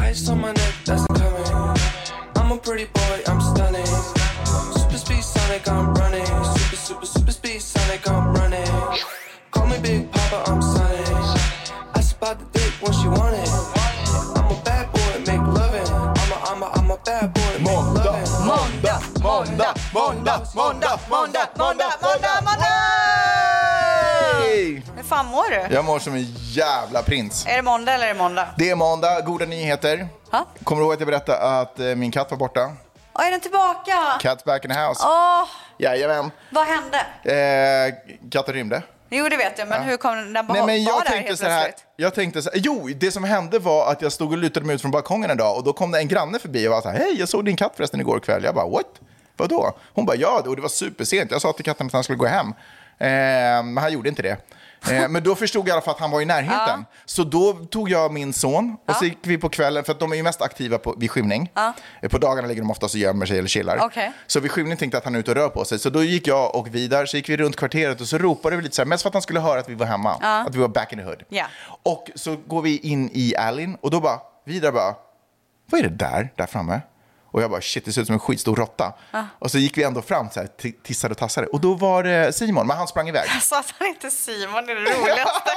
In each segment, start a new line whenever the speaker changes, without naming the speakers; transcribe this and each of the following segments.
ice on my neck, that's coming. I'm a pretty boy, I'm stunning. Super speed Sonic, I'm running. Super, super, super speed Sonic, I'm running. Call me Big Papa, I'm Sonic. I spot the dick when she want it. I'm a bad boy, make lovin'. I'm a, I'm a, I'm a bad boy, make
Måndag,
lovin'.
måndag, måndag, måndag, måndag, måndag, måndag, måndag, måndag! Hej!
Hur fan mår du?
Jag mår som en jävla prins.
Är det måndag eller är det måndag?
Det är måndag, goda nyheter.
Ja.
Kommer du ihåg att jag berättade att eh, min katt var borta?
Åh, är den tillbaka?
Cat's back in the house.
Åh,
Jajamän.
vad hände?
Eh, katten rymde.
Jo, det vet jag, men hur kom den? Den bara
Nej, men
var
jag
där
tänkte
helt
så här,
plötsligt.
jag tänkte så här, jo, det som hände var att jag stod och lutade mig ut från balkongen en dag och då kom det en granne förbi och var så här, hej, jag såg din katt förresten igår kväll. Jag bara, what? Vadå? Hon bara, ja, och det var supersent. Jag sa till katten att han skulle gå hem, eh, men han gjorde inte det. Eh, men då förstod jag i alla fall att han var i närheten. Så då tog jag min son och så gick vi på kvällen, för att de är ju mest aktiva på, vid skymning. Eh, På dagarna ligger de oftast och gömmer sig eller chillar.
Okej.
Så vid skymning tänkte jag att han är ute och rör på sig. Så då gick jag och Vidar, så gick vi runt kvarteret och så ropade vi lite så här, mest för att han skulle höra att vi var hemma. Att vi var back in the hood.
Ja.
Och så går vi in i allyn och då bara, Vidar bara, vad är det där, där framme? Och jag bara, shit, det ser ut som en skitstor råtta. Och så gick vi ändå fram så här, t- tissade och tassade. Och då var det Simon, men han sprang iväg.
Så att han inte Simon är det roligaste.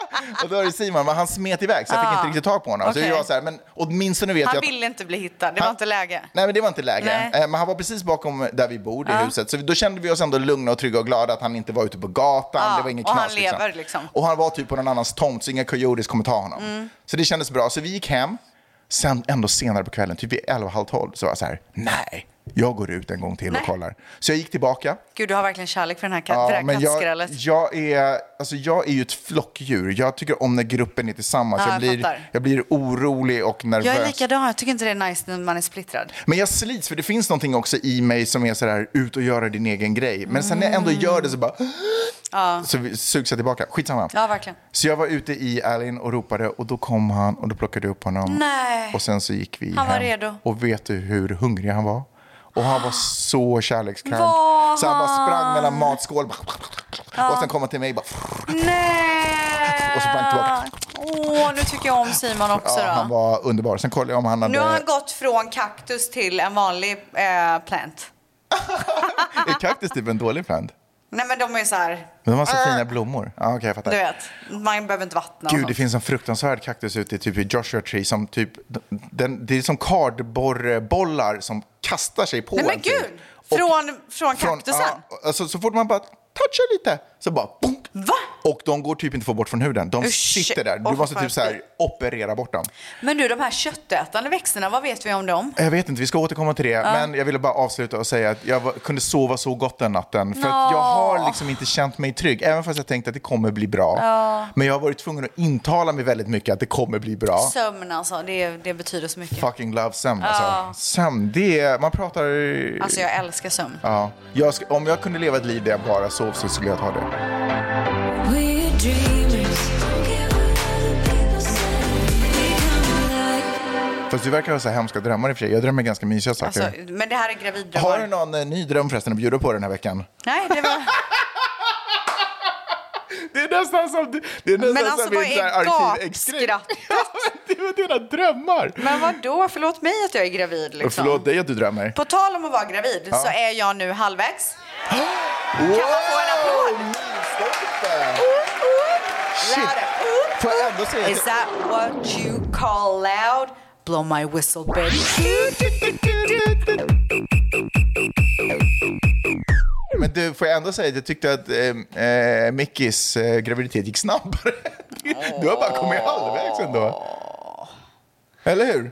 och då var det Simon, men han smet iväg, så jag fick inte riktigt tag på honom. Så
Ah, okej.
jag var så här, men åtminstone vet
Han
jag... att-
ville inte bli hittad, det var
Han-
inte läge.
Nej, men det var inte läge.
Nej.
Eh, Men han var precis bakom där vi bor i huset. Så då kände vi oss ändå lugna och trygga och glada att han inte var ute på gatan.
Ja,
Det var ingen
och
knas.
han lever, liksom. Mm.
Och han var typ på någon annans tomt, så inga coyotes kommer ta honom. Så det kändes bra. Så vi gick hem. Sen ändå senare på kvällen, typ vid 11, halv 12, så var jag så här, nej, jag går ut en gång till och kollar. Så jag gick tillbaka.
Gud, du har verkligen kärlek för den här
Ja,
katt-
men jag,
kattskrället.
jag, är, alltså jag är ju ett flockdjur. Jag tycker om när gruppen är tillsammans.
Ja,
jag,
jag
blir,
fattar.
jag blir orolig och nervös.
Jag är likadan, jag tycker inte det är nice när man är splittrad.
Men jag slits, för det finns någonting också i mig som är sådär, ut och göra din egen grej. Men sen när jag ändå gör det så bara, så vi- sugs jag tillbaka. Skitsamma.
Ja, verkligen.
Så jag var ute i allyn och ropade och då kom han och då plockade jag upp honom.
Nej.
Och sen så gick vi
Han var
hem.
redo.
Och vet du hur hungrig han var? Och han var så kärlekskrank.
Var
Så han bara sprang
han?
mellan matskål. Bara, Och sen kom han till mig bara.
Nej!
Och så sprang tillbaka.
Åh, nu tycker jag om Simon också
Ja, han
då.
var underbar. Sen kollade jag om han hade...
Nu har han gått från kaktus till en vanlig eh, plant.
Är kaktus typ en dålig plant?
Nej, men de är så här,
Men de har så
Äh.
fina blommor. Ja, okej, jag fattar.
du vet, man behöver inte vattna. och
Gud,
sånt.
det finns en fruktansvärd kaktus ute i typ i Joshua Tree som typ, den, det är som kardborrebollar som kastar sig på
Nej, men
en typ.
gud!
Och-
Från, från kaktusen?
ja, alltså, så fort man bara touchar lite så bara bonk.
Va?
Och de går typ inte att få bort från huden. De
Usch,
sitter där. Du
åh,
måste
vad
typ så här operera bort dem.
Men du, de här köttätande växterna, vad vet vi om dem?
Jag vet inte, vi ska återkomma till det. Men jag ville bara avsluta och säga att jag var, kunde sova så gott den natten. För att jag har liksom inte känt mig trygg. Även fast jag tänkte att det kommer bli bra. Men jag har varit tvungen att intala mig väldigt mycket att det kommer bli bra.
Sömn alltså, det, det betyder så mycket.
Fucking love sömn alltså. Sömn, det är, man pratar...
Alltså jag älskar sömn.
Ja. Jag ska, om jag kunde leva ett liv där jag bara sov så skulle jag ta det.
We're dreamers. Don't care what other people say. We come alive.
Fast du verkar ha så här hemska drömmar i och för sig. Jag drömmer ganska mysiga saker.
Alltså, men det här är graviddrömmar.
har du någon eh, ny dröm förresten att bjuda på den här veckan?
Nej, det var...
Det är nästan som, det är nästan
Men alltså
som
vad
mitt så här
är
arkivexklipp.
gapskratt?
Ja, men det var dina drömmar.
Men vadå? Förlåt mig att jag är gravid
Och
liksom.
Förlåt dig att du drömmer.
På tal om att vara gravid så är jag nu halvvägs.
Kan wow!
få en applåd?
Milstolpe!
Loud.
Shit! Får jag ändå säga
Is that what you call loud? Blow my whistle bitch.
Men du, får jag ändå säga att jag tyckte att eh, eh, Mickis eh, graviditet gick snabbare. Du har bara kommit halvvägs ändå. Eller hur?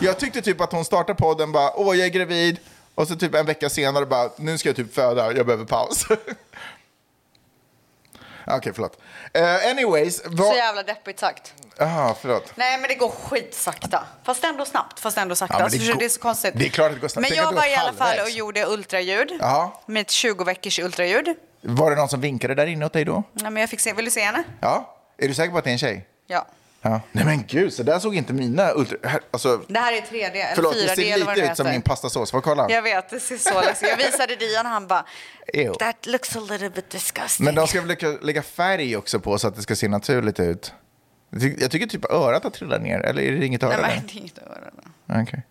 Jag tyckte typ att hon startade podden bara, åh jag är gravid. Och så typ en vecka senare bara, nu ska jag typ föda, jag behöver paus. Okej, förlåt. Eh, anyways,
Så
vad...
jävla deppigt sagt.
Aha, förlåt.
Nej men det går skitsakta. Fast ändå snabbt, fast ändå sakta.
Ja, men det
det,
går-
det är så konstigt.
det är klart att det går snabbt.
Men
Tänk att
jag
det
var
går
i alla fall och
halvvägs.
gjorde ultraljud.
Ja.
Mitt 20 veckors ultraljud.
Var det någon som vinkade där inne åt dig då?
Nej, men jag fick se, vill du se henne?
Ja. Är du säker på att det är en tjej?
Ja.
Ja. Nej men gud, så där såg inte mina ultra... här- Alltså,
Det här är 3D eller
förlåt,
4D
det ser
eller vad
lite
det
ut som
heter.
min pastasås. Får jag kolla?
Jag vet, det ser så läskigt Jag visade Dion han bara,
Ew.
that looks a little bit disgusting.
Men de ska väl lägga, lägga färg också på så att det ska se naturligt ut? Jag ty- Jag tycker typ örat har trillat ner, eller är det inget öra?
Nej,
där?
men det är inte öronen.
Okej.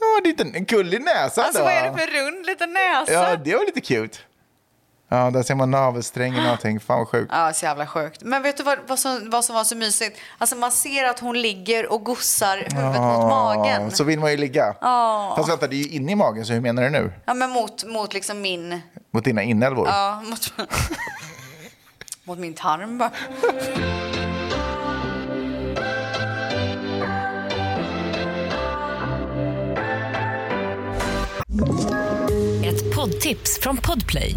Ja, det är inte en gullig näsa
Alltså
då.
vad är det för rund liten näsa?
Ja,
Ja,
det var lite cute. Ja, där ser man navelsträngen
Ah.
och allting. Fan vad sjukt.
så jävla sjukt. Men vet du vad, vad, som, vad som var så mysigt? Alltså man ser att hon ligger och gossar huvudet mot magen.
Ah,
Ah.
Så vill man ju ligga.
Ja.
Fast vänta, det är ju inne i magen, så hur menar du nu?
Ja, men mot, mot liksom min...
Mot dina inälvor?
Ja, mot, mot min tarm bara.
Ett poddtips från Podplay.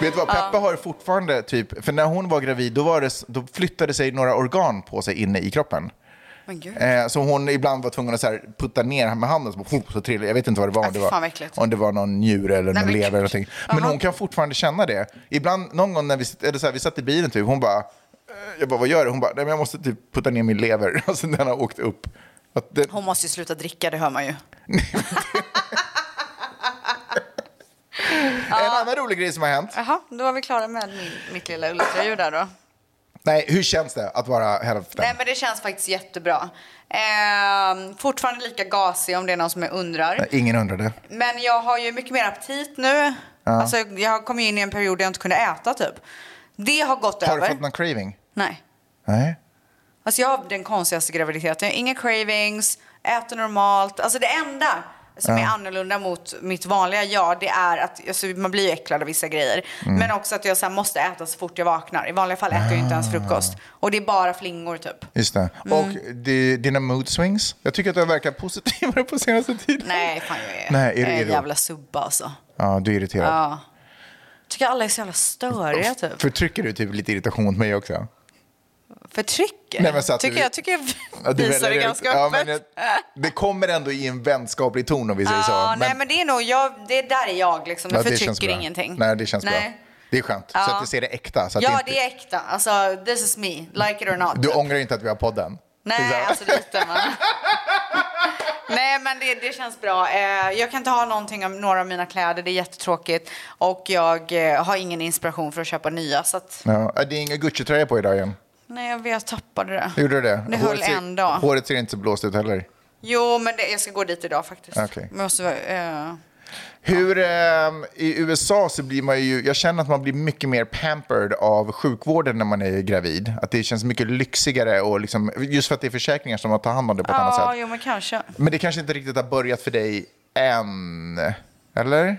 Vet du vad, Peppa har fortfarande typ, för när hon var gravid då, var det, s- då flyttade sig några organ på sig inne i kroppen.
Men gud.
Eh, så hon ibland var tvungen att så här, putta ner med handen så, bara, pff, så trillade Jag vet inte vad det var.
Äh,
Om det
fy fan, vad
var,
äckligt.
om det var någon njure eller
Nej,
någon
men
lever
gud.
eller någonting. Men
Jaha.
hon kan fortfarande känna det. Ibland, någon gång när vi, sitter- eller så här, vi satt i bilen typ, hon bara, eh, jag bara, vad gör du? Hon bara, nej men jag måste typ putta ner min lever. Alltså den har åkt upp. Att det,
Hon måste ju sluta dricka, det hör man ju.
En annan rolig grej som har hänt.
Jaha, då var vi klara med min, mitt lilla ultraljud där då.
Nej, hur känns det att vara hälften?
Nej men det känns faktiskt jättebra. Ehm, fortfarande lika gasig om det är någon som undrar.
Ingen undrade.
Men jag har ju mycket mer aptit nu. Alltså, jag kom ju in i en period där jag inte kunde äta typ. Det har gått
Har du
över.
fått någon craving?
Nej.
Nej.
Alltså jag har den konstigaste graviditeten. Inga cravings, äter normalt. Alltså det enda som är annorlunda mot mitt vanliga jag, det är att alltså man blir ju äcklad av vissa grejer.
Mm.
Men också att jag så här, måste äta så fort jag vaknar. I vanliga fall äter jag ju inte
Ah.
ens frukost. Och det är bara flingor typ.
Just det. Och di- dina mood swings? Jag tycker att du har verkat positivare på senaste tiden.
Nej, fan jag är,
Nej, är du
jag är en
irriterad?
jävla subba alltså.
Ja, du är irriterad.
Ja. Tycker alla är så jävla störiga typ.
Förtrycker du typ lite irritation mot mig också?
Förtrycker?
Nej, men så att
tycker
du-
jag tycker jag
Ja, du
visar det
väljer ut.
ganska
Ja, men
öppet.
det- det kommer ändå i en vänskaplig ton om vi säger så.
Ja, nej men det är nog, jag, det där är jag liksom. Jag
Ja, det känns
förtrycker
bra.
ingenting.
Nej, det känns bra.
Nej.
Det är skönt. Så
Ja.
att du ser det äkta. Så att
Ja,
inte,
det är äkta. Alltså, this is me. Like it or not.
Du ångrar inte att vi har podden? Det är så
Nej,
här-
alltså lite men. Nej, men det, det känns bra. Eh, jag kan inte ha någonting av några av mina kläder. Det är jättetråkigt. Och jag eh, har ingen inspiration för att köpa nya. Så att,
Ja, det är ingen Gucci-tröja på idag igen.
nej, jag vet, jag tappade det.
Gjorde du det?
Det höll
ser,
en dag.
Håret ser inte så blåst ut heller.
Jo, men det, jag ska gå dit idag faktiskt.
Okej.
Men jag måste, eh,
Hur, ehm, I USA så blir man ju, jag känner att man blir mycket mer pampered av sjukvården när man är gravid. Att det känns mycket lyxigare och liksom, just för att det är försäkringar som tar hand om det på ett annat
ja,
sätt.
jo, men kanske.
Men det kanske inte riktigt har börjat för dig än, eller?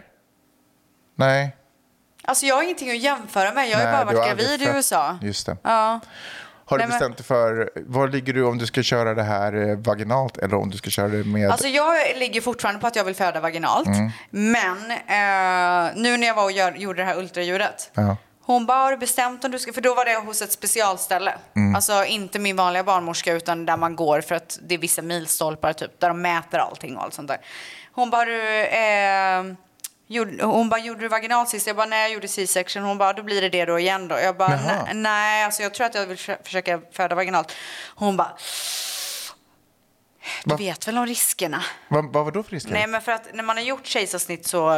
Nej.
Alltså, jag har ingenting att jämföra med. Jag har ju
Nej,
bara
du
varit
aldrig
gravid i
fött.
USA.
Just det.
Ja.
Har
Nej,
du
men-
bestämt dig för, var ligger du om du ska köra det här eh, vaginalt eller om du ska köra det med...
Alltså jag ligger fortfarande på att jag vill föda vaginalt.
Mm.
Men eh, nu när jag var och gör, gjorde det här ultraljudet.
Ja.
Hon bara, har du bestämt om du ska... För då var det hos ett specialställe.
Mm.
Alltså inte min vanliga barnmorska utan där man går för att det är vissa milstolpar typ. Där de mäter allting och allt sånt där. Hon bara, har du... Eh, gjorde- hon bara, gjorde du vaginalt sist? Jag bara, nej jag gjorde C-section. Hon bara, då blir det det då igen då. Jag bara,
Jaha.
"Nej, nej alltså jag tror att jag vill försö- försöka föda vaginalt. Hon bara, du
Va-
vet väl om riskerna?
Vad, vad var då för risker?
Nej, men för att när man har gjort kejsarsnitt så...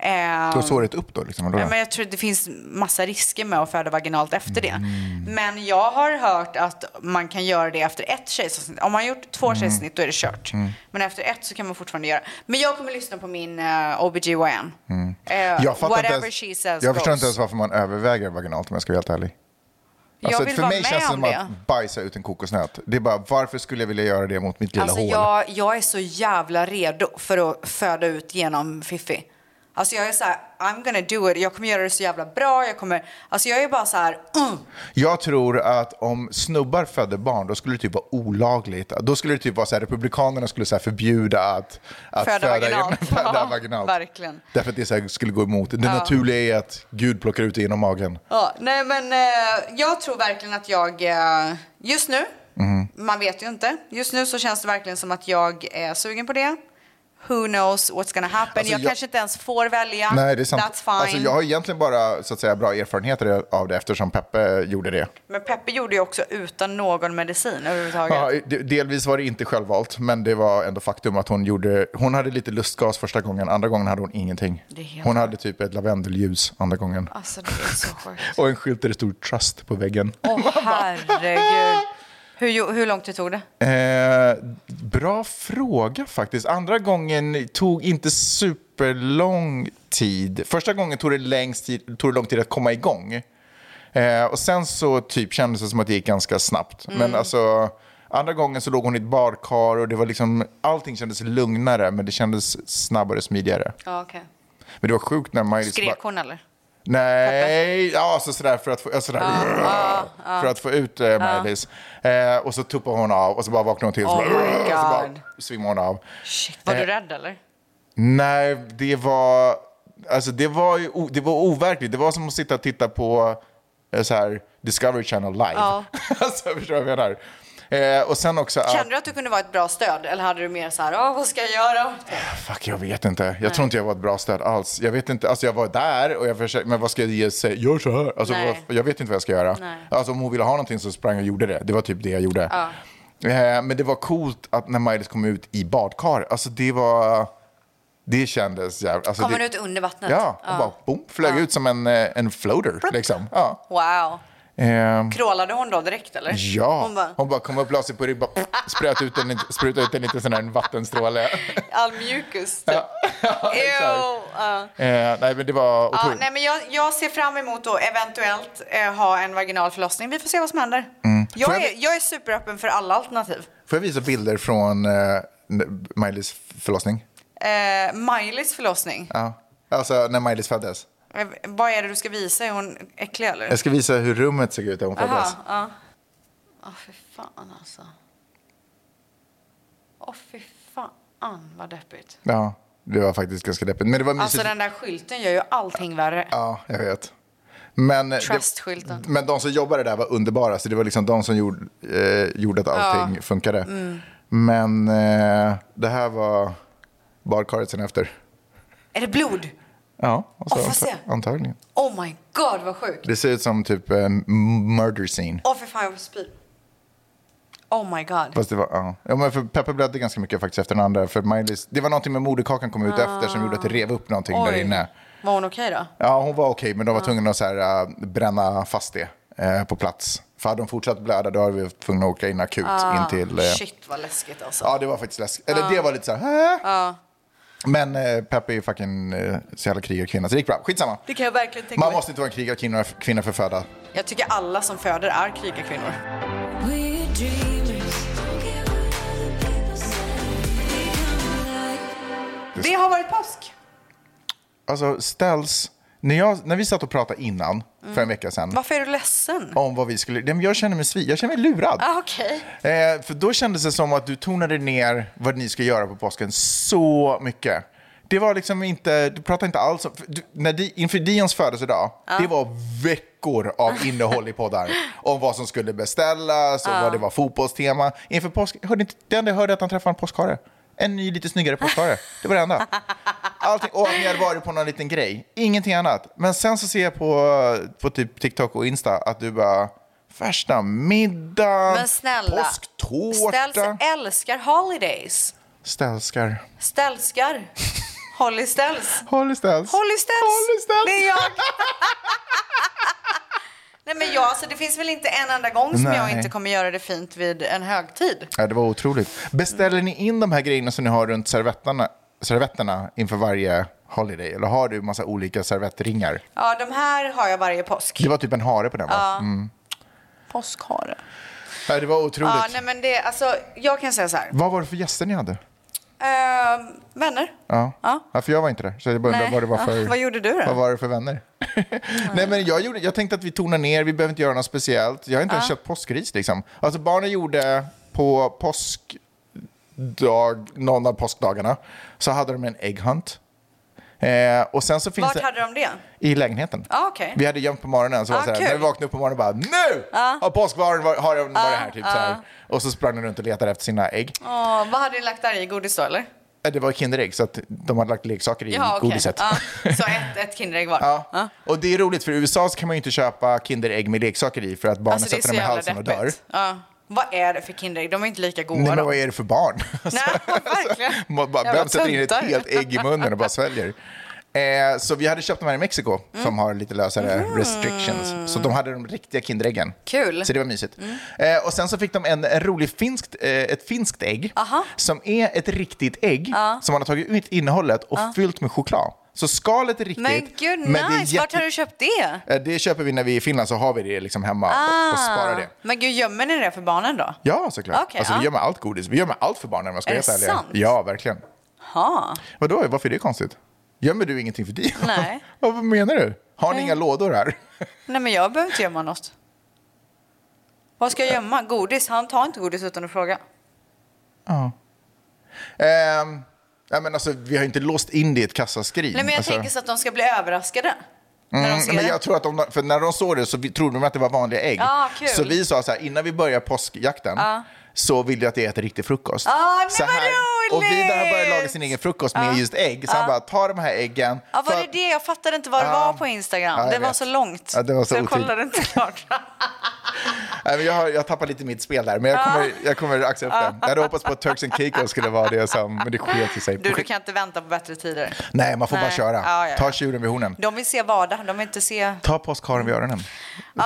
Eh,
Då såret upp då? Liksom, eller?
ja, men jag tror att det finns massa risker med att föda vaginalt efter det.
Mm.
Men jag har hört att man kan göra det efter ett kejsarsnitt. Om man har gjort två
Mm.
kejsarsnitt då är det kört. Men efter ett så kan man fortfarande göra. Men jag kommer lyssna på min eh, OBGYN. Eh,
Mm. jag fattar
whatever
inte ens,
she says
Jag förstår
goes.
inte ens varför man överväger vaginalt om jag ska vara helt ärlig.
Jag vill
alltså, för
vara
mig
med
känns det
om
som
det.
att bajsa ut en kokosnöt. Det är bara, varför skulle jag vilja göra det mot mitt lilla
Alltså
hål?
jag, jag är så jävla redo för att föda ut genom Fifi. Alltså jag är så här, I'm gonna do it. Jag kommer göra det så jävla bra. Jag kommer, alltså jag är bara så här, mm.
Jag tror att om snubbar födde barn, då skulle det typ vara olagligt. Då skulle det typ vara så här, republikanerna skulle så här förbjuda att, att
Föda vaginalt.
föda
Ja,
vaginalt.
verkligen.
Därför att det så här skulle gå emot. Det naturliga är att Gud plockar ut det genom magen.
Ja, nej men eh, jag tror verkligen att jag, eh, just nu
Mm-hmm.
Man vet ju inte. Just nu så känns det verkligen som att jag är sugen på det. Who knows what's gonna happen.
Alltså,
jag,
jag-
kanske inte ens får välja.
Nej, det är sant.
That's fine.
Alltså, jag har egentligen bara så att säga, bra erfarenheter av det eftersom Peppe gjorde det.
Men Peppe gjorde ju också utan någon medicin överhuvudtaget.
Ja, de- delvis var det inte självvalt, men det var ändå faktum att hon gjorde... Hon hade lite lustgas första gången, andra gången hade hon ingenting.
Det är helt
Hon hade typ ett lavendelljus andra gången.
Alltså det är så sjukt.
Och en skylt där det stod trust på väggen.
Åh herregud. Hur, jo- hur långt det tog det?
Eh, bra fråga faktiskt. Andra gången tog inte superlång tid. Första gången tog det, längst tid, tog det lång tid att komma igång. Eh, och sen så typ kändes det som att det gick ganska snabbt. Men alltså, andra gången så låg hon i ett badkar och det var liksom, allting kändes lugnare men det kändes snabbare och smidigare.
Ja, okej.
Men det var sjukt när Miley...
Skrek hon eller?
Nej, ja, alltså sådär för att få, alltså sådär, för att få ut eh, Miley's. Eh, och så tuppar hon av och så bara vaknar hon till.
Oh
så, bara,
my
och så bara
God.
svimmar hon av.
Shit,
Eh,
var du rädd eller?
Nej, det var, alltså, det var, ju, o- det var overkligt. Det var som att sitta och titta på eh, så här, Discovery Channel live.
Ja.
alltså, förstår du vad jag menar? Eh, och sen också att...
Kände du att du kunde vara ett bra stöd eller hade du mer så här, "Ah, vad ska jag göra?
Fuck, jag vet inte. Jag tror inte jag var ett bra stöd alls. Jag vet inte, alltså jag var där och jag försökte, men vad ska jag säga? Gör så här. Alltså,
Nej.
vad, jag vet inte vad jag ska göra.
Nej.
Alltså om hon ville ha någonting så sprang jag och gjorde det. Det var typ det jag gjorde. Eh, men det var coolt att när Maj-Lis kom ut i badkar, alltså det var, det kändes jävligt. Alltså,
Kommer
det,
du ut under vattnet?
Ja, och bara boom, flög ut som en, eh, en floater liksom. Ja.
Wow.
Ehm,
Krålade hon då direkt eller?
Ja,
Hon bara,
kom upp, la sig på ribban, spröt ut en, sprutade ut en liten sån här vattenstråle.
all mjukus typ.
Ja,
Ew,
exakt.
ja.
Eh, nej, men det var
Ja,
otroligt.
nej, men jag, jag ser fram emot att eventuellt eh, ha en vaginal förlossning. Vi får se vad som händer.
Mm. Får
Jag,
jag-
är, jag är superöppen för alla alternativ.
Får jag visa bilder från eh, Miley's förlossning?
Eh, Miley's förlossning,
Ja. Alltså när Miley's föddes.
eh, vad är det du ska visa? Är hon äcklig eller?
Jag ska visa hur rummet såg ut när hon
Jaha,
föddes.
ja. Åh fy fan alltså. Åh fy fan vad deppigt.
Ja, det var faktiskt ganska deppigt. Men det var mysigt.
Alltså den där skylten gör ju allting värre.
Ja, jag vet. Men, eh, det-
Trust-skylten.
men de som jobbade där var underbara, så det var liksom de som gjorde, eh, gjorde att allting funkade.
Mm.
Men eh, det här var badkaret sen efter.
Är det blod?
Ja, och så
Åh, får jag se?
antagligen.
Oh my god vad sjukt.
Det ser ut som typ en murder scene.
Åh fy fan jag får spy. Oh my god.
Fast det var, ja. ja men för Peppe blödde ganska mycket faktiskt efter den andra. För Miley's, det var någonting med moderkakan kom ut efter som gjorde att
Ah.
det rev upp någonting där inne.
Var hon okej då?
Ja, hon var okej, men de
Ah.
var tvungna att så här, äh, bränna fast det eh, på plats. För hade de fortsatt blöda då hade vi varit tvungna att åka in akut in till... Eh,
Ah, Shit Ah. vad läskigt alltså.
ja, det var faktiskt läskigt. Eller det var lite så här... "Hä?"
Ah.
Men eh, Peppe är ju fucking eh, så jävla krigarkvinna, så det gick bra. Skitsamma.
Det kan jag verkligen tänka
Man
mig.
måste inte vara en krigarkvinna kvinna för att föda.
Jag tycker alla som föder är krigarkvinnor.
We're dreamers. Don't care what other people say. We come alive.
Det har varit påsk.
Alltså, ställs... När, jag, när vi satt och pratade innan, för
Mm.
en vecka sedan,
Varför är du ledsen?
om vad vi skulle... Nej, men Jag känner mig svi, jag känner mig lurad.
Ah, Okej.
Eh, för då kändes det som att du tonade ner vad ni ska göra på påsken så mycket. Det var liksom inte, du pratade inte alls om, för du, när di, inför Dions födelsedag, det var veckor av innehåll i poddar. om vad som skulle beställas och vad det var fotbollstema. Inför påsk, jag hörde inte, det enda jag hörde att han träffade en påskhare. En ny lite snyggare påskhare. Det var det enda. Allting, och att ni hade varit på någon liten grej. Ingenting annat. Men sen så ser jag på, på typ TikTok och Insta att du bara, värsta middagen,
Men snälla.
Påsktårta.
Ställs älskar holidays.
Stälskar.
Stälskar. Holly Ställs.
Håll i ställs.
Holly Ställs.
Holly Ställs.
Det är jag. Nej men jag, alltså det finns väl inte en enda gång som jag
Nej.
inte kommer göra det fint vid en högtid.
Ja, det var otroligt. Beställer ni in de här grejerna som ni har runt servetterna, servetterna inför varje holiday? Eller har du massa olika servettringar?
Ja, de här har jag varje påsk.
Det var typ en hare på den, va? Mm.
Påskhare.
Ja, det var otroligt.
Ja, nej men det, alltså jag kan säga så här.
Vad var det för gäster ni hade?
Ehm, vänner.
Ja.
Ja.
för jag var inte där. Så jag bara undrar
Nej.
vad det var för...
Vad gjorde du då?
Vad var det för vänner? Nej, men jag, gjorde, jag tänkte att vi tonar ner, vi behöver inte göra något speciellt. Jag har inte ens köpt påskris liksom. Alltså barnen gjorde på påskdag, någon av påskdagarna, så hade de en ägghunt. Eh, och sen så finns
Vart
det
hade de det?
i lägenheten.
Ah, okej.
Vi hade gömt på morgonen. Så var det
Ah,
såhär,
kul.
när vi vaknade upp på morgonen bara nu har påskvararen var- har den varit här. Typ, såhär. Och så sprang den runt och letade efter sina ägg.
Åh, vad hade ni lagt där i? Godis då eller?
Eh, Det var Kinderägg så att de hade lagt leksaker i
Ja, okej.
godiset.
Ja, så ett, ett Kinderägg var.
Ja. Och det är roligt för i USA så kan man ju inte köpa Kinderägg med leksaker i för att barnen
Alltså det är
sätter
så
dem i
jävla
halsen och dör.
deppigt. Ja. Vad är det för Kinderägg? De är inte lika goda.
Nej, men
de.
vad är det för barn? Alltså,
Nej, verkligen.
Man bara,
Jävla
vem sätter in ett
töntar.
helt ägg i munnen och bara sväljer? Eh, så vi hade köpt de här i Mexiko
Mm.
som har lite lösare restrictions. Så de hade de riktiga Kinderäggen.
Kul. Mm.
Så det var mysigt. Eh, och sen så fick de en, en rolig finskt, eh, ett finskt ägg som är ett riktigt ägg som man har tagit ut innehållet och fyllt med choklad. Så skalet är riktigt.
Men gud,
men det är
nice! Vart har du köpt det?
Eh, Det köper vi när vi är i Finland så har vi det liksom hemma och, och sparar det.
Men gud, gömmer ni det för barnen då?
Ja, såklart.
Ah. Okej,
alltså,
ja.
Vi gör med allt godis. Vi gör med allt för barnen om jag ska
Är
vara
det
helt ärlig.
sant?
Ja, verkligen.
Ha.
Vadå, varför är det konstigt? Gömmer du ingenting för dig?
Nej.
Vad menar du? Har ni inga lådor här?
Nej, men jag behöver inte gömma något. Vad ska jag gömma? Godis? Han tar inte godis utan att fråga.
Ehm, nej, men alltså, vi har ju inte låst in det i ett kassaskrin.
Nej, men jag
alltså,
tänker så att de ska bli överraskade. när de
Mm,
ser
men
det.
jag tror att de, för när de såg det så vi, trodde de att det var vanliga ägg.
Ah, kul.
Så vi sa så här, innan vi börjar påskjakten så vill jag att jag äter riktig frukost.
Ah, men
så
vad
Och
roligt!
Vidar började laga sin egen frukost med just ägg. Så han bara, ta de här äggen.
Ja, var
ta-
det det? Jag fattade inte vad det
Ja.
var på Instagram.
Ja, jag
det var
vet.
så långt.
Ja, det var så
jag
otydligt.
kollade inte klart.
Nej, men jag, har, jag tappar lite mitt spel där, men jag kommer, jag kommer axa upp den. Jag hade hoppats på att Turks and Caicos skulle vara det som, men det sket ju sig.
Du, du kan inte vänta på bättre tider.
Nej, man får bara
Nej.
köra.
Ja, ja, ja.
Ta tjuren vid hornen.
De vill se vardag, de vill inte se...
Ta påskharen vid öronen.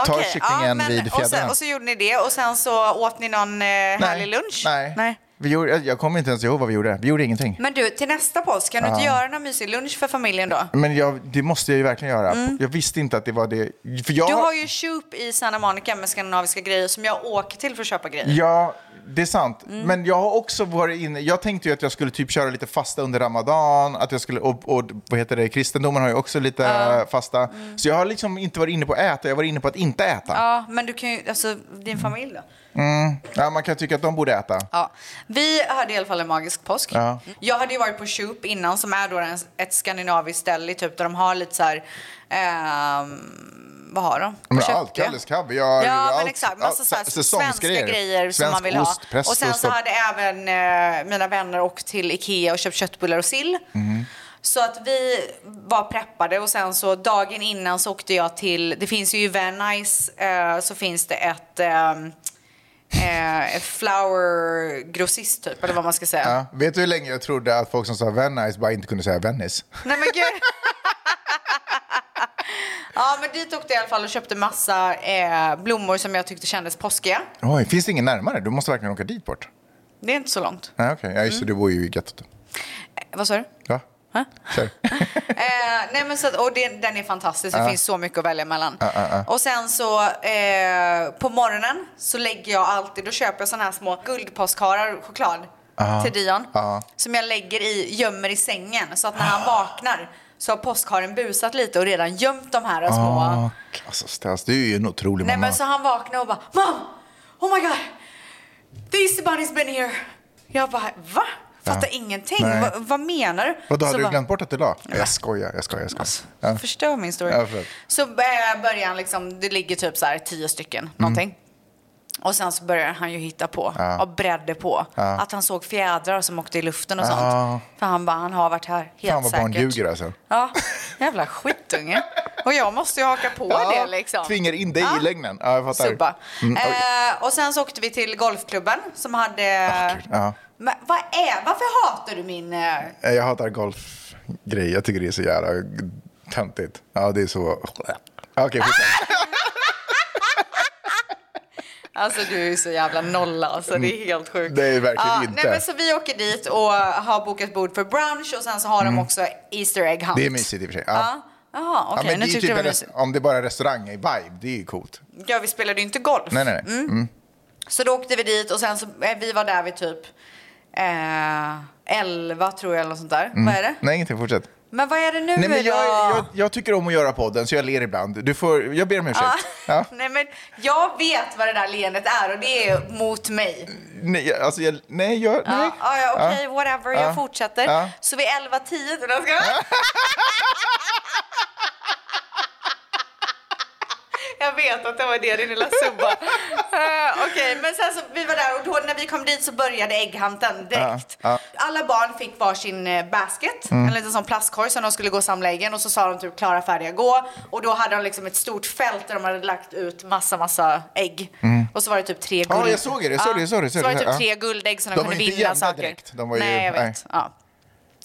Ta
Okej,
kycklingen
ja, men-
vid
och, sen,
fjädrarna.
och så gjorde ni det och sen så åt ni någon eh, härlig lunch?
Nej. Vi gjorde, jag- jag kommer inte ens ihåg vad vi gjorde. Vi gjorde ingenting.
Men du, till nästa påsk, kan du inte göra någon mysig lunch för familjen då?
Men jag, det måste jag ju verkligen göra. Jag visste inte att det var det. För jag,
Mm. Du har ju Shoop i Santa Monica med skandinaviska grejer som jag åker till för att köpa grejer.
Ja, det är sant.
Mm.
Men jag har också varit inne... Jag tänkte ju att jag skulle typ köra lite fasta under ramadan. Att jag skulle, och, och vad heter det? Kristendomen har ju också lite eh, fasta. Så jag har liksom inte varit inne på att äta, jag var inne på att inte äta.
Mm.
Mm.
Ja, men du kan ju, alltså din familj då?
Ja, man kan tycka att de borde äta.
Ja. Vi hade i alla fall en magisk påsk. Jag hade ju varit på Shoop innan som är då en, ett skandinaviskt ställe i typ där de har lite så här, ehm, vad har de?
Men
Vad köpte
allt,
jag?
Kalles kebbe, jag har
Ja,
allt-
men exakt.
allt-
Massa så här svenska grejer, som
Svensk
man vill
ost,
ha.
prästost
Och sen så hade även eh, mina vänner åkt till Ikea och köpt köttbullar och sill. Så att vi var preppade och sen så dagen innan så åkte jag till, det finns ju i Venice eh, så finns det ett ehm, eh, flower-grossist typ, eller vad man ska säga.
Ja, vet du hur länge jag trodde att folk som sa Venice bara inte kunde säga Venice?
Nej men gud. ja men dit åkte jag i alla fall och köpte massa eh, blommor som jag tyckte kändes påskiga.
Oj, finns det ingen närmare? Du måste verkligen åka dit bort.
Det är inte så långt.
Nej, okej. Ja, just
Mm.
det, du bor ju i gettot.
Eh, Vad sa du?
Ja. Kör.
Eh, nej men så att, och det, den är fantastisk, det finns så mycket att välja mellan. Och sen så eh, på morgonen så lägger jag alltid, då köper jag såna här små guldpåskharar och choklad till Dion.
Ja.
Som jag lägger i, gömmer i sängen så att när han vaknar så har påskharen busat lite och redan gömt de här små.
Ah, Alltså Stas, du är ju en otrolig
Nej
mamma.
men så han vaknade och bara Mom! Oh my god! The Easter bunny's been here! Jag bara va? Fattar ingenting.
Nej.
Va, vad menar du?
Vadå,
Så
hade du
bara- Alltså,
glömt bort att du la? Jag skojar, jag skojar, jag skojar. Ja.
Förstör min story.
Ja, förlåt.
så eh, börjar han liksom, det ligger typ så här tio stycken
Mm.
någonting. Och sen så börjar han ju hitta på och bredde på. Att han såg fjädrar som åkte i luften och
Ja.
sånt. För han bara, han har varit här, helt
Fan vad barn
säkert.
ljuger alltså.
Ja, jävla skitunge. Och jag måste ju haka på
Ja,
det liksom.
Tvingar in dig
Ja.
i lögnen. Ja, jag fattar.
Subba.
Mm, okej.
eh, och sen så åkte vi till golfklubben som hade...
Ah, kul. Ja.
Men vad är... Varför hatar du min... eh,
Eh, Jag hatar golfgrejer. Jag tycker det är så jävla töntigt. Ja, det är så... Okej, skitsamma.
Ah, Alltså du är ju så jävla nolla alltså, det är helt sjukt.
Mm. Det är verkligen
Ja,
inte.
Nej, men så vi åker dit och har bokat bord för brunch och sen så har de också Easter egg hunt.
Mm. det är mysigt i och för sig. Ja.
Ja. Jaha, Ah, okej.
Ja, men det
nu
är ju
tyckte
typ
jag det
en
var
res-
mysigt.
om det är bara restaurang i vibe, det är ju coolt.
Ja, vi spelade ju inte golf.
Nej, nej, nej. Mm.
Så då åkte vi dit och sen så, eh, vi var där vid typ eh, 11 tror jag eller något sånt där. Vad är det?
Nej, ingenting. Fortsätt.
Men vad är det nu
Mm. Nej, men jag,
då?
jag, jag tycker om att göra podden, så jag ler ibland. Du får, jag ber om ursäkt. Ja.
Nej, men jag vet vad det där leendet är och det är mot mig.
Nej, jag- alltså, jag, nej, jag, nej.
Ja, ja, ja, Okej, whatever,
Ja.
jag fortsätter.
Ja.
Så vid 11.10 då ska jag... Jag vet att det var det, din lilla subba. Eh, Okej, men sen så vi var där och då när vi kom dit så började ägghanten direkt.
Ja, Mm. ja.
Alla barn fick varsin eh, basket, en liten sån plastkorg som de skulle gå och samla äggen och så sa de typ klara, färdiga, gå. Och då hade de liksom ett stort fält där de hade lagt ut massa, massa ägg. Och så var det typ tre
Mm. Ja,
guld...
jag såg det, jag såg det, jag såg det, jag
Så
såg
var det
det.
typ
Ja.
tre guldägg som de,
De var
kunde
ju inte
vinna
jämna
saker.
direkt. De var ju-
nej, jag vet.
nej.
Ja.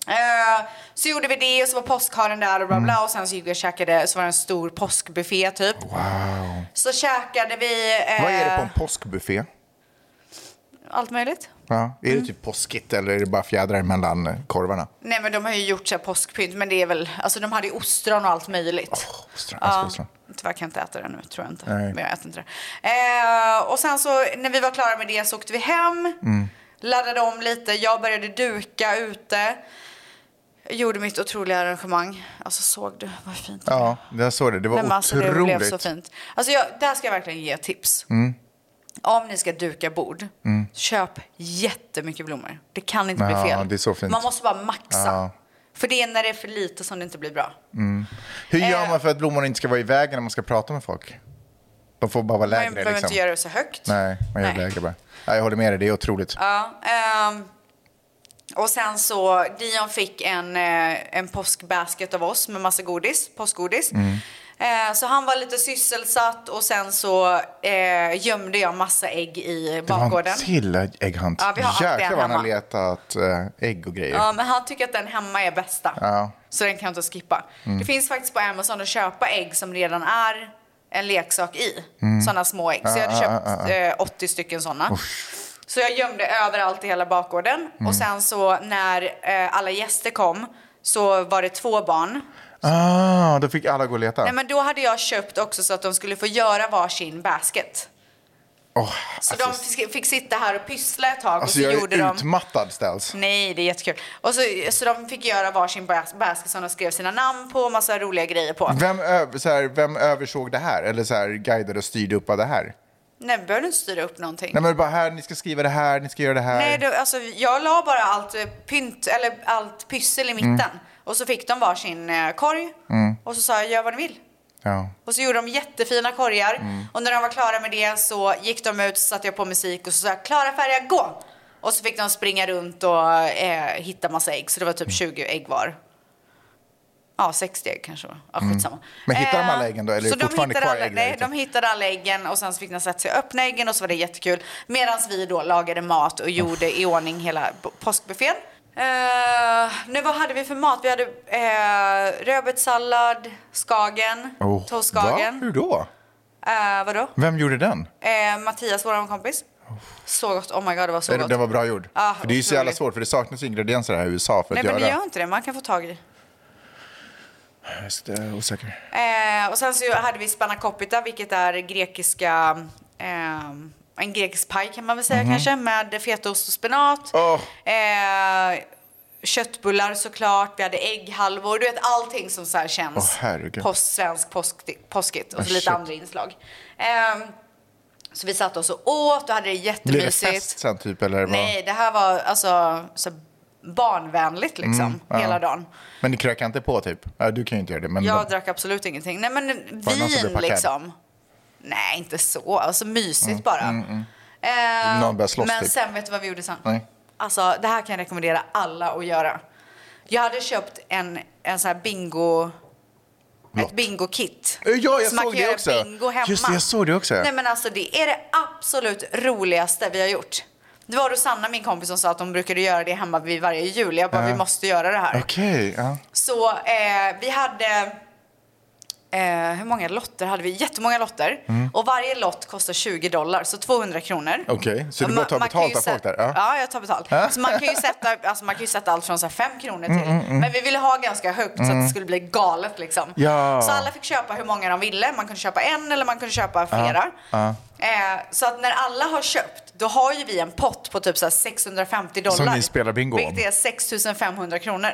Eh, så gjorde vi det och så var påskharen där och bla
Mm.
bla och sen så gick vi och käkade, så var det en stor påskbuffé typ.
Wow.
Så käkade vi... eh,
Oh. Vad är det på en påskbuffé?
Allt möjligt.
Ja. Är
Mm.
det typ påskigt eller är det bara fjädrar mellan eh, korvarna?
Nej men de har ju gjort så här påskpynt men det är väl, alltså de hade ju ostron och allt möjligt.
Åh, ostron, jag älskar
Ja.
ostron.
Tyvärr kan jag inte äta det nu, tror jag inte.
Nej.
Men jag äter inte det. Eh, och sen så när vi var klara med det så åkte vi hem,
Mm.
laddade om lite, jag började duka ute. Gjorde mitt otroliga arrangemang. Alltså såg du vad fint det var?
Ja, jag såg det. Det var
Men alltså,
otroligt. Mm.
det blev så fint. Alltså jag, där ska jag verkligen ge tips. Om ni ska duka bord, köp jättemycket blommor. Det kan inte bli
Ja,
fel.
det är så fint.
Man måste bara maxa.
Ja.
För det är när det är för lite som det inte blir bra.
Hur
Eh.
gör man för att blommorna inte ska vara i vägen när man ska prata med folk? De får bara vara
man
lägre.
behöver
liksom.
inte göra det så högt.
Nej, man gör
Nej.
lägre bara. Ja, jag håller med dig, det är otroligt.
Ja, ehm, och sen så, Dion fick en, eh, en påskbasket av oss med massa godis, påskgodis.
Mm.
Eh, Så han var lite sysselsatt och sen så eh, gömde jag massa ägg i
Det var en
bakgården.
till ägghunt.
Ja, vi har alltid en
Jäklar vad han har
hemma.
letat eh, ägg och grejer.
Ja, men han tycker att den hemma är bästa.
Ja. Mm.
Så den kan jag inte skippa. Det finns faktiskt på Amazon att köpa ägg som redan är en leksak i. Sådana små ägg. Så jag hade
Mm. Ja,
köpt
ja,
eh, 80 stycken sådana. Så jag gömde överallt i hela bakgården.
Mm.
Och sen så när eh, alla gäster kom så var det två barn.
Ah, då fick alla gå och leta.
Nej, men då hade jag köpt också så att de skulle få göra varsin basket.
Åh,
Så
alltså,
de fick, fick sitta här och pyssla ett tag. och
alltså,
så
jag
gjorde
är
de...
utmattad ställs.
Nej, det är jättekul. Och så, så de fick göra varsin bas- basket som de skrev sina namn på och massa roliga grejer på.
Vem, ö- så här, vem översåg det här? Eller så här, guidade och styrde upp av det här?
Nej, vi behövde inte styra upp någonting.
Nej, men bara här, ni ska skriva det här, ni ska göra det här.
Nej, då, alltså, jag la bara allt eh, pynt, eller allt pyssel i mitten.
Mm.
Och så fick de varsin eh, korg. Och så sa jag, gör vad ni vill.
Ja.
Och så gjorde de jättefina korgar.
Mm.
Och när de var klara med det så gick de ut, så satte jag på musik och så sa jag, Klara Färja, gå! Och så fick de springa runt och eh, hitta massa ägg. Så det var
Mm.
typ 20 ägg var. Ja, 60 ägg kanske var. Ja, skitsamma.
Mm. Men hittade de
Eh,
alla äggen då, eller är
så
det
de
fortfarande
hittade
kvar
alla,
ägg där
Nej,
ute?
de hittade alla äggen och sen så fick de sätta sig och öppna äggen och så var det jättekul. Medan vi då lagade mat och gjorde i ordning hela p- påskbuffén. Eh, nu vad hade vi för mat? Vi hade uh, rödbetssallad, skagen,
Oh, va?
toastskagen.
Hur då?
Eh, vadå?
Vem gjorde den?
Eh, Mattias, vår kompis. Så gott. Oh my god, det var så
Den,
gott.
den var bra gjord.
Ah,
för det är ju så jävla
otroligt.
svårt, för det saknas ju ingredienser här i USA för
Nej,
att
men det
göra.
gör inte det. Man kan få tag i.
Just det, osäker.
Eh, och sen så hade vi spanakopita, vilket är grekiska... ehm, en grekisk paj kan man väl säga kanske, med fetaost och spenat.
Mhm. Åh.
Eh, köttbullar såklart, vi hade ägghalvor, du vet allting som så här
Åh,
känns
herregud.
post, svensk påsk, påskigt och så
Ah,
lite
shit.
andra inslag. Ehm, så vi satt oss och åt och hade det
Blev det
jättemysigt.
fest sen typ? Eller vad?
Nej, det här var alltså så barnvänligt liksom
Mm, ja.
hela dagen.
Men ni krökade inte på typ? Ja, du kan ju inte göra det. Men
Jag
de-
drack absolut ingenting. Nej, men
Var det någon som blev
vin
packad?
liksom. Nej, inte så. Alltså mysigt bara. Eh,
Mm, Någon började slåss,
men
typ.
sen vet du vad vi gjorde sen?
Nej.
Alltså, det här kan jag rekommendera alla att göra. Jag hade köpt en, en sån här bingo...
Lott.
Ett bingo-kit.
Ja, jag
Så
såg
man kan
det
göra
också.
bingo hemma.
Just det, jag såg det också.
Nej, men alltså det är det absolut roligaste vi har gjort. Det var Rosanna, min kompis, som sa att de brukade göra det hemma vid varje jul. Jag bara, vi måste göra det här.
Okej, ja.
Så eh, vi hade... Eh, hur många lotter hade vi? Jättemånga lotter.
Mm.
Och varje lott kostar 20 dollar, så 200 kronor.
Okej, så du
Och
bara
ma-
tar
man kan
betalt
ju
av folk
sätta-
där, ja. Mm,
Ja. jag tar betalt. Så man kan ju sätta, alltså man kan ju sätta allt från så här 5 kronor till. Men vi ville ha ganska högt så att det skulle bli galet liksom.
Ja.
Så alla fick köpa hur många de ville. Man kunde köpa en eller man kunde köpa flera.
ja.
Eh, så att när alla har köpt, då har ju vi en pott på typ så här 650 dollar.
Som ni spelar bingo om.
Vilket är 6500 kronor.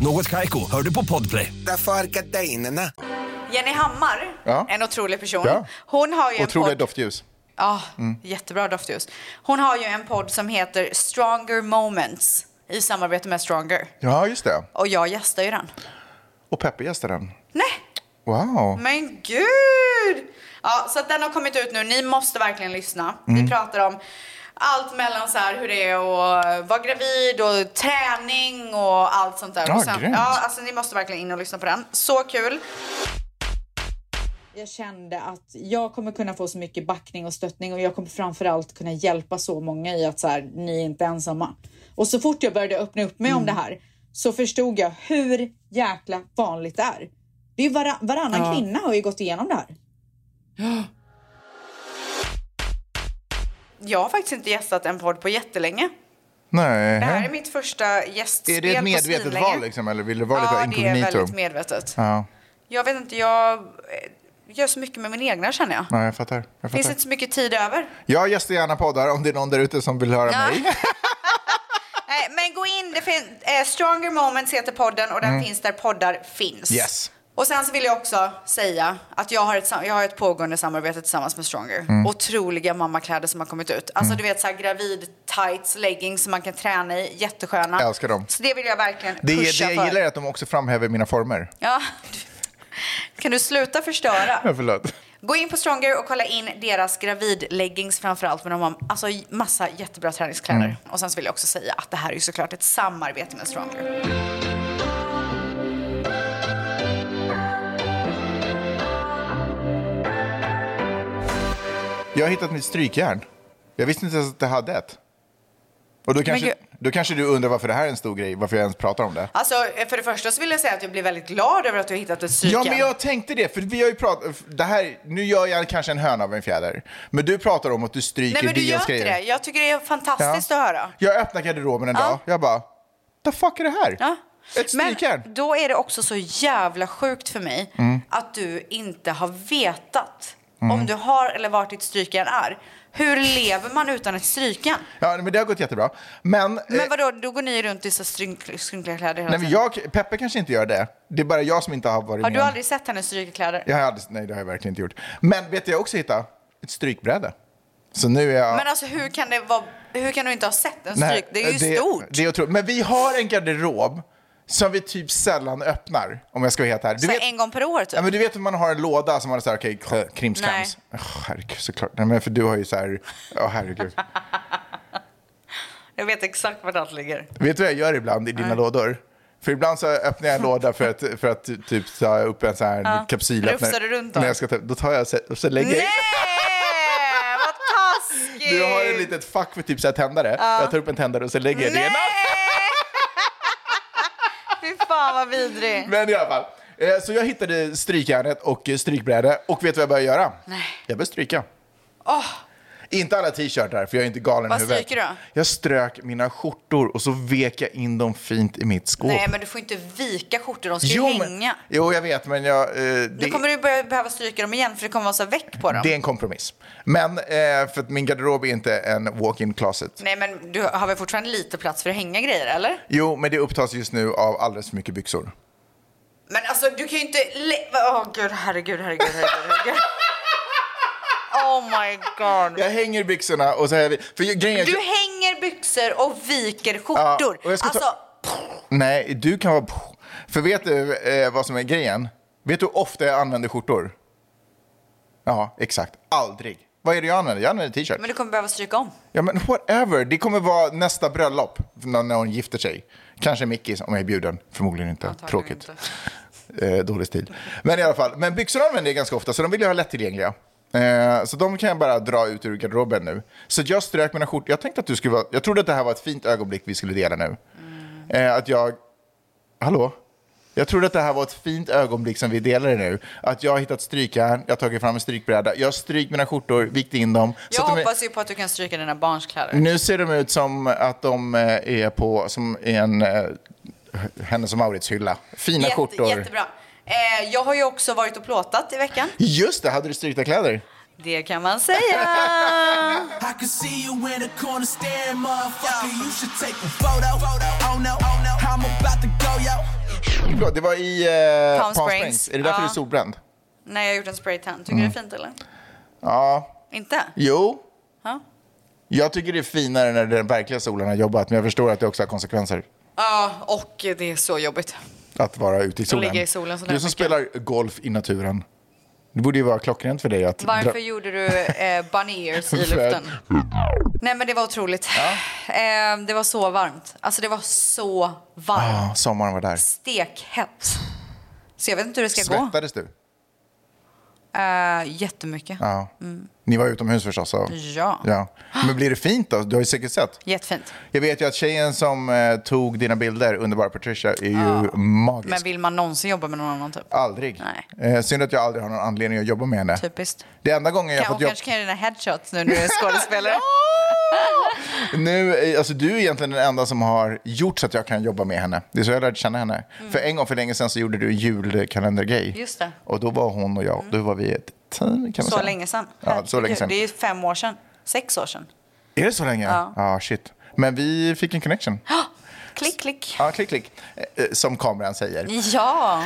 Något Kaiko, hör du på Podplay.
Därför arkadeinerna.
Jenny Hammar,
Ja.
en otrolig person.
Ja.
Hon har ju en
Otroliga Mm.
podd-
doftljus.
Ja, jättebra doftljus. Hon har ju en podd som heter Stronger Moments i samarbete med Stronger.
Ja, just det.
Och jag gästar ju den.
Och Peppe gästar den.
Nej,
Wow.
Men gud! Ja, så att den har kommit ut nu. Ni måste verkligen lyssna. Vi pratar om allt mellan så här hur det är att vara gravid och träning och allt sånt där.
Ja,
och sen,
grymt.
ja, alltså ni måste verkligen in och lyssna på den. Så kul! Jag kände att jag kommer kunna få så mycket backning och stöttning och jag kommer framförallt kunna hjälpa så många i att så här, ni är inte ensamma. Och så fort jag började öppna upp mig
Mm.
om det här så förstod jag hur jäkla vanligt det är. Det är ju vara, varannan kvinna har ju gått igenom det här. Jag har faktiskt inte gästat en podd på jättelänge.
Nej.
Det här är mitt första gästspel
Är det ett
på
medvetet
svinlänge.
val liksom, eller vill det vara
Ja,
lite
det är
inkognito?
väldigt medvetet.
Ja,
Jag vet inte, jag eh, gör så mycket med min egna känner jag.
nej, jag fattar. Jag,
Finns
fattar.
inte så mycket tid över.
jag gästar gärna poddar om det är någon där ute som vill höra mig.
Nej, men gå in, det fin- eh, Stronger Moments heter podden och den finns där poddar finns.
Mm. Yes.
Och sen så vill jag också säga att jag har ett, sam- jag har ett pågående samarbete tillsammans med Stronger.
Mm.
Otroliga mammakläder som har kommit ut. Alltså du vet så här gravid tights, leggings som man kan träna i, jättesköna.
Jag älskar dem.
Så det vill jag verkligen
Det, det
pusha
jag
för.
gillar är att de också framhäver mina former.
Ja. Kan du sluta förstöra?
Ja, förlåt.
Gå in på Stronger och kolla in deras gravidleggings framförallt. Men de har alltså massa jättebra träningskläder.
Mm.
Och sen så vill jag också säga att det här är ju såklart ett samarbete med Stronger.
Jag har hittat mitt strykjärn. Jag visste inte ens att jag hade ett. Och då kanske,
gud.
då kanske du undrar varför det här är en stor grej, varför jag ens pratar om det.
Alltså eh, för det första så vill jag säga att jag blir väldigt glad över att du har hittat ett psyken.
Ja, men jag tänkte det, för vi har ju pratat, det här, nu gör jag kanske en höna av en fjäder, men du pratar om att du stryker
Nej men du gör
Dias
inte
grejer.
det. Jag tycker det är fantastiskt att höra.
Jag öppnar garderoben en dag, jag bara, the fuck är det här?
Ja.
Ett strykjärn.
Men då är det också så jävla sjukt för mig
Mm.
att du inte har vetat om du har eller vart ditt strykjärn är. Hur lever man utan ett strykjärn?
Ja, men det har gått jättebra. Men, eh,
Men vadå, då går ni runt i så skrynkliga kläder hela
nej,
tiden?
men jag, Peppe kanske inte gör det. Det är bara jag som inte har varit
Har
med.
du
om-
aldrig sett hennes strykkläder?
Jag har aldrig, nej, det har jag verkligen inte gjort. Men vet du, jag också hittade ett strykbräde. Så nu är jag...
Men alltså hur kan, det vara, hur kan du inte ha sett en
Nej,
stryk? Det är ju stort.
Det är otroligt. Men vi har en garderob som vi typ sällan öppnar, om jag ska vara helt ärlig. Du
så här
vet,
en gång per år typ.
ja, men du vet hur man har en låda som man har så här, okej, okay, krimskrams. Åh, herregud, såklart. Nej, men för du har ju så här, ja herregud.
Jag vet exakt vart allt ligger.
Vet du vad jag gör ibland i dina lådor? För ibland så öppnar jag en låda för att, för att typ ta upp en sån här kapsylöppnare.
Rufsar du runt
då?
då?
När jag ska ta, då tar jag så- och så lägger jag
Nej!
in-
Vad taskigt!
Du har ett litet fack för typ så här tändare. Jag tar upp en tändare och så lägger jag det i en
Nej!
annan.
Fy fan vad vidrig.
Men i alla fall. Eh, Så jag hittade strykjärnet och eh, strykbrädet och vet du vad jag började göra? Nej. Jag började stryka. Inte alla t-shirtar, för jag är inte galen
Vad
i huvudet.
stryker du då?
Jag strök mina skjortor och så vek jag in dem fint i mitt skåp.
Nej, men du får inte vika skjortor, de ska ju
men-
hänga.
jo, jag vet, men jag... Eh,
Nu
det,
kommer du börja behöva stryka dem igen för det kommer vara så här väck på dem.
det är en kompromiss. Men eh, för att min garderob är inte en walk-in closet.
Nej, men du har väl fortfarande lite plats för att hänga grejer, eller?
Jo, men det upptas just nu av alldeles för mycket byxor.
Men alltså du kan ju inte... le- Åh gud, herregud, herregud, herregud. herregud. Oh my god.
Jag hänger byxorna och så här... För jag- grejen är att
Du
jag-
hänger byxor och viker skjortor.
och jag ska ta-
alltså,
Nej, du kan vara... För vet du eh, vad som är grejen? Vet du hur ofta jag använder skjortor? Ja, exakt. Aldrig. Vad är det jag använder? Jag använder t-shirt.
men du kommer behöva stryka om.
Ja, men whatever. Det kommer vara nästa bröllop när när hon gifter sig. Kanske Mickis om jag är bjuden. Förmodligen inte. Tråkigt. Eh, dålig stil. Men i alla fall. Men byxor använder jag ganska ofta, så de vill jag ha lättillgängliga. Eh, så de kan jag bara dra ut ur garderoben nu. Så jag strök mina skjortor. Jag tänkte att du skulle vara... Jag trodde att det här var ett fint ögonblick vi skulle dela nu.
Mm.
Eh, att jag... Hallå? Jag trodde att det här var ett fint ögonblick som vi delade nu. Att jag har hittat strykjärn, jag har tagit fram en strykbräda, jag har strykt mina skjortor, vikt in dem. så
Jag
att de är-
hoppas ju på att du kan stryka dina barns kläder.
nu ser de ut som att de eh, är på som i en eh, Hennes och Mauritz hylla. Fina
Jätte-
skjortor.
Jättebra. Eh, jag har ju också varit och plåtat i veckan.
Just det, hade du strykta kläder?
Det kan man säga.
I can see you in the corner staring, motherfucker. You should take a photo. Oh no, oh no, I'm about to go, yo.
Förlåt, Det var i eh,
Palm
Palm
Springs.
Springs. Är det därför
Ja.
du är solbränd?
Nej, jag har gjort en spraytan. Tycker du det är fint eller?
Mm. Ja.
Inte?
Jo.
Ja.
Jag tycker det är finare när den verkliga solen har jobbat, men jag förstår att det också har konsekvenser
Ja, och det är så jobbigt.
att vara ute i solen.
ligga i solen sådär
du som
mycket.
spelar golf i naturen. Det borde ju vara klockrent för dig att...
Varför
dra-
gjorde du eh, bunny ears i
För att-
luften? Nej men det var otroligt. Eh, det var så varmt. Alltså det var så varmt.
Ja, sommaren var där.
Stekhett. Så jag vet inte hur det ska gå.
Svettades du?
Eh, jättemycket.
Ja. Ni var utomhus förstås? Så.
Mm. Ja.
ja. Men blir det fint då? Du har ju säkert sett.
Jättefint.
Jag vet ju att tjejen som eh, tog dina bilder, underbara Patricia, är ju magisk.
Men vill man någonsin jobba med någon annan typ?
Aldrig.
Nej.
Eh, synd att jag aldrig har någon anledning att jobba med henne.
Typiskt.
Det enda gången jag
Kan, hon
fått jobb...
kanske kan göra dina headshots nu när du är skådespelare.
Nu, eh, alltså, du är egentligen den enda som har gjort så att jag kan jobba med henne. Det är så jag lärde känna henne. För en gång för länge sedan så gjorde du julkalendergrej.
Mm. Just det. Mm.
Och då var hon och jag, då var vi ett team kan man
Så
säga.
länge sedan.
Ja, så länge sedan.
Det är ju fem år sedan. Sex år sedan.
Är det så länge?
Ja.
ja, shit. Men vi fick en connection.
Klick, klick.
Ja, klick, klick. Eh, eh, Som kameran säger.
Ja.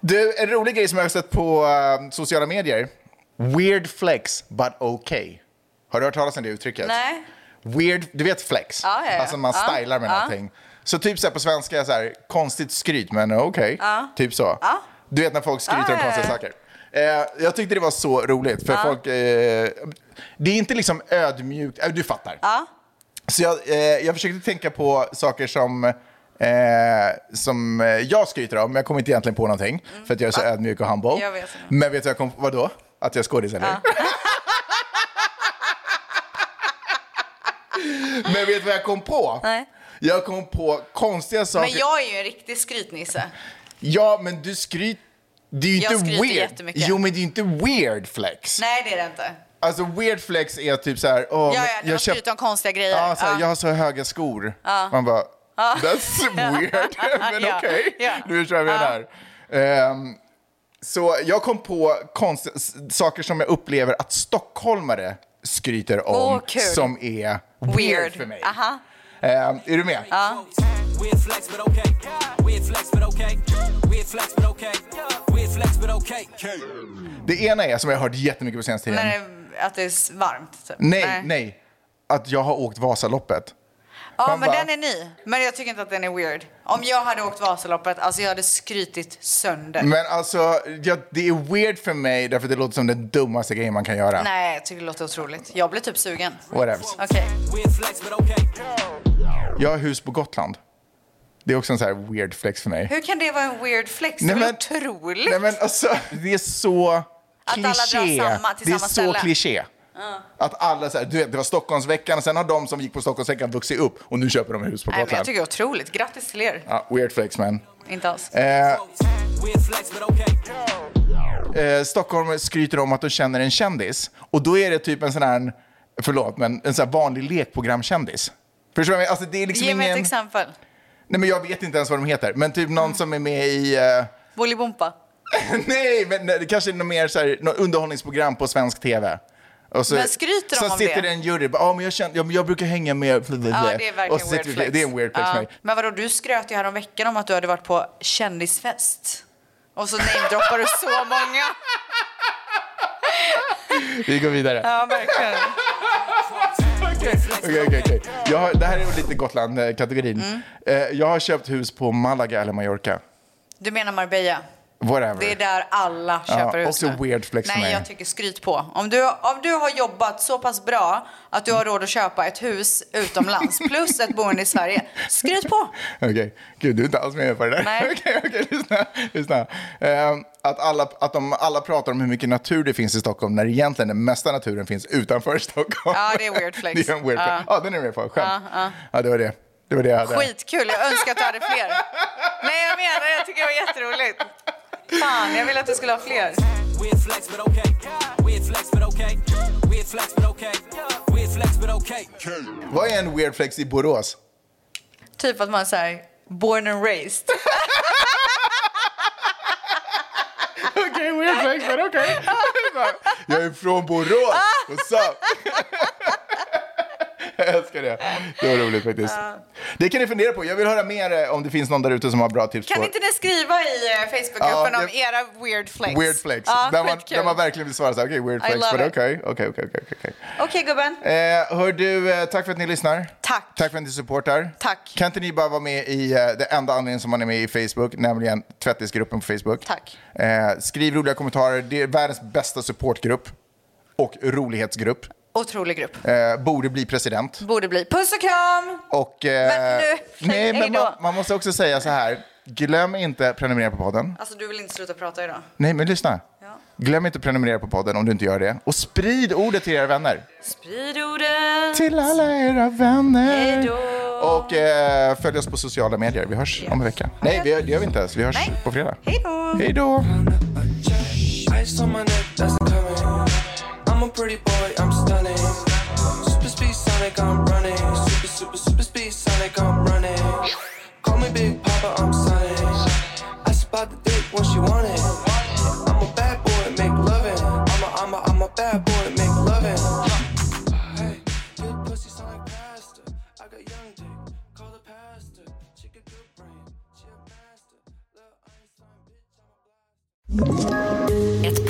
Du, en rolig grej som jag har sett på eh, sociala medier. Weird flex, but okay. Har du hört talas om det uttrycket?
Nej.
Weird, du vet flex?
Ja, ja, ja.
Alltså man
Ja,
stylar med
ja.
någonting. Så typ så här på svenska, så här, konstigt skryt, men okej. Typ så. Du vet när folk skryter om konstiga saker. Eh, jag tyckte det var så roligt, för folk... Eh, det är inte liksom ödmjukt, eh, du fattar. Så jag, eh, jag försökte tänka på saker som, eh, som eh, jag skryter om, men jag kom inte egentligen på någonting. För att jag är så ödmjuk och humble.
Mm. Jag vet.
Men vet du vad jag kom på? Vadå? Att jag är skådis, eller? men vet du vad jag kom på?
Nej.
Jag kom på konstiga saker.
Men jag är ju en riktig skrytnisse.
Ja, men du skryter. Det är ju
Jag
inte
skryter
weird.
jättemycket.
Jo, men det är ju inte weird flex.
Nej, det är det inte.
Alltså weird flex är typ så här, åh, men
Ja, ja, du har
jag köpte
skrytit om konstiga grejer.
Ja, såhär,
Ja.
jag har så höga skor. Man bara, that's weird, men
Ja,
okej.
ja.
Du förstår vad jag menar. Ehm, så jag kom på konst, s- saker som jag upplever att stockholmare skryter om
Åh, kul.
som är weird,
Weird.
för mig.
Aha.
Ehm, är du med?
Weird flex, but okay. Weird flex, but okay. Weird flex, but okay. Weird flex, but okay.
Det ena är, som jag har hört jättemycket på senaste tiden,
När det, att det är varmt. Typ.
nej, nej, att jag har åkt Vasaloppet.
Ja,
Man
men
bara-
den är ny. Men jag tycker inte att den är weird. Om jag hade åkt Vasaloppet, alltså jag hade skrytit sönder.
Men alltså, ja, det är weird för mig därför det låter som den dummaste grejen man kan göra.
Nej, jag tycker det låter otroligt. Jag blir typ sugen.
Whatever.
Okej.
Weird flex, but okay.
Jag har hus på Gotland. Det är också en så här weird flex för mig.
Hur kan det vara en weird flex? Det är väl otroligt?
Nej, men alltså, det är så
alla drar
kliché.
samma- till
Det är
samma
så
ställe.
kliché. Att alla så här, du vet, det var Stockholmsveckan och sen har de som gick på Stockholmsveckan vuxit upp och nu köper de hus på
Nej, men jag
Gotland.
tycker det är otroligt. Grattis till er.
ja, weird flex man.
Inte alls.
Eh,
Weird flex, but okay.
eh, Stockholm skryter om att de känner en kändis. Och då är det typ en sån här, förlåt, men en sån här vanlig lekprogramkändis. Förstår du vad jag menar? Alltså, det är liksom
Ge mig ett
ingen...
exempel. Mm.
Nej, men jag vet inte ens vad de heter. Men typ någon som är med i... eh,
Bolibompa.
Nej, men det kanske är något mer så här, något underhållningsprogram på svensk tv. Och så,
Men skryter de
så
om det?
sitter det en jury och bara, ja men jag, känner, ja, men jag brukar hänga med...
Ja, det är verkligen
och så sitter
weird
vi-
flex.
Det är en weird flex för
ja.
mig.
Men vadå, du skröt ju häromveckan om att du hade varit på kändisfest. Och så namedroppar du så många.
Vi går vidare.
Ja, verkligen.
Okej, okej, okej. Jag har, det här är lite Gotland-kategorin.
Mm.
Eh, jag har köpt hus på Malaga eller Mallorca.
Du menar Marbella?
Whatever.
Det är där alla köper hus
också
nu.
weird flex för
Nej,
mig.
jag tycker skryt på. Om du, om du har jobbat så pass bra att du har råd att köpa ett hus utomlands plus ett boende i Sverige, skryt på.
Okej, gud du är inte alls med på det där.
Nej.
Okej, okej, lyssna. lyssna. Ehm, att alla, att de, alla pratar om hur mycket natur det finns i Stockholm när egentligen den mesta naturen finns utanför Stockholm.
Ja, det är weird flex.
det är en weird flex.
Ja.
Ja, den är du med på. Skämt. Ja, det var det. Det var det jag hade.
Skitkul, jag önskar att du hade fler. Nej, jag menar det. Jag tycker det var jätteroligt. Fan, jag ville att du skulle ha fler.
Weird flex, but okay. Weird flex, but okay. Weird flex, but okay. Weird flex, but okay.
Vad är en weird flex i Borås?
Typ att man säger born and raised.
Okej, weird flex, men okej. jag är från Borås. What's up? jag älskar det. Det var roligt faktiskt. Det kan ni fundera på. Jag vill höra mer eh, om det finns någon där ute som har bra tips
Kan
på
inte ni skriva i eh, Facebookgruppen
Ja,
om
det-
era weird flex?
Weird flex.
Ja,
där, man,
skitkul.
där man verkligen vill svara så här, okej, weird
I
flex,
love
men
it.
okej, okej, okej, okej, okej.
Okej, gubben.
Eh, Hör du, eh, tack för att ni lyssnar.
Tack.
Tack för att ni supportar.
Tack.
Kan inte ni bara vara med i eh, det enda anledningen som man är med i Facebook, nämligen tvättisgruppen på Facebook.
Tack.
Eh, skriv roliga kommentarer, det är världens bästa supportgrupp och rolighetsgrupp.
Otrolig grupp.
Eh, borde bli president.
Borde bli. Puss och kram!
Och, eh,
Men nu,
nej,
hej
men
då.
man, man måste också säga så här, glöm inte prenumerera på podden.
Alltså, du vill inte sluta prata idag.
Nej, men lyssna. Glöm inte att prenumerera på podden om du inte gör det. Och sprid ordet till era vänner.
Sprid orden.
Till alla era
Hej
vänner.
då.
Och eh, följ oss på sociala medier. Vi hörs om en vecka. Nej, vi, det gör vi inte ens. Vi hörs
Nej.
på fredag.
Hej då.
Hej då.
Ice on my neck, that's a coming. I'm a pretty boy, I'm stunning. Super speed Sonic, I'm running. Super, super, super speed Sonic, I'm running. Call me Big Papa, I'm Sonic. I spot the dick when she want it. I'm a bad boy, make lovin'. I'm a, I'm a, I'm a bad boy, make lovin'. Hey, your pussy sound like pasta. I got young dick, call the pastor. She got good brain, she a master. Little Einstein, bitch, I'm a
Ett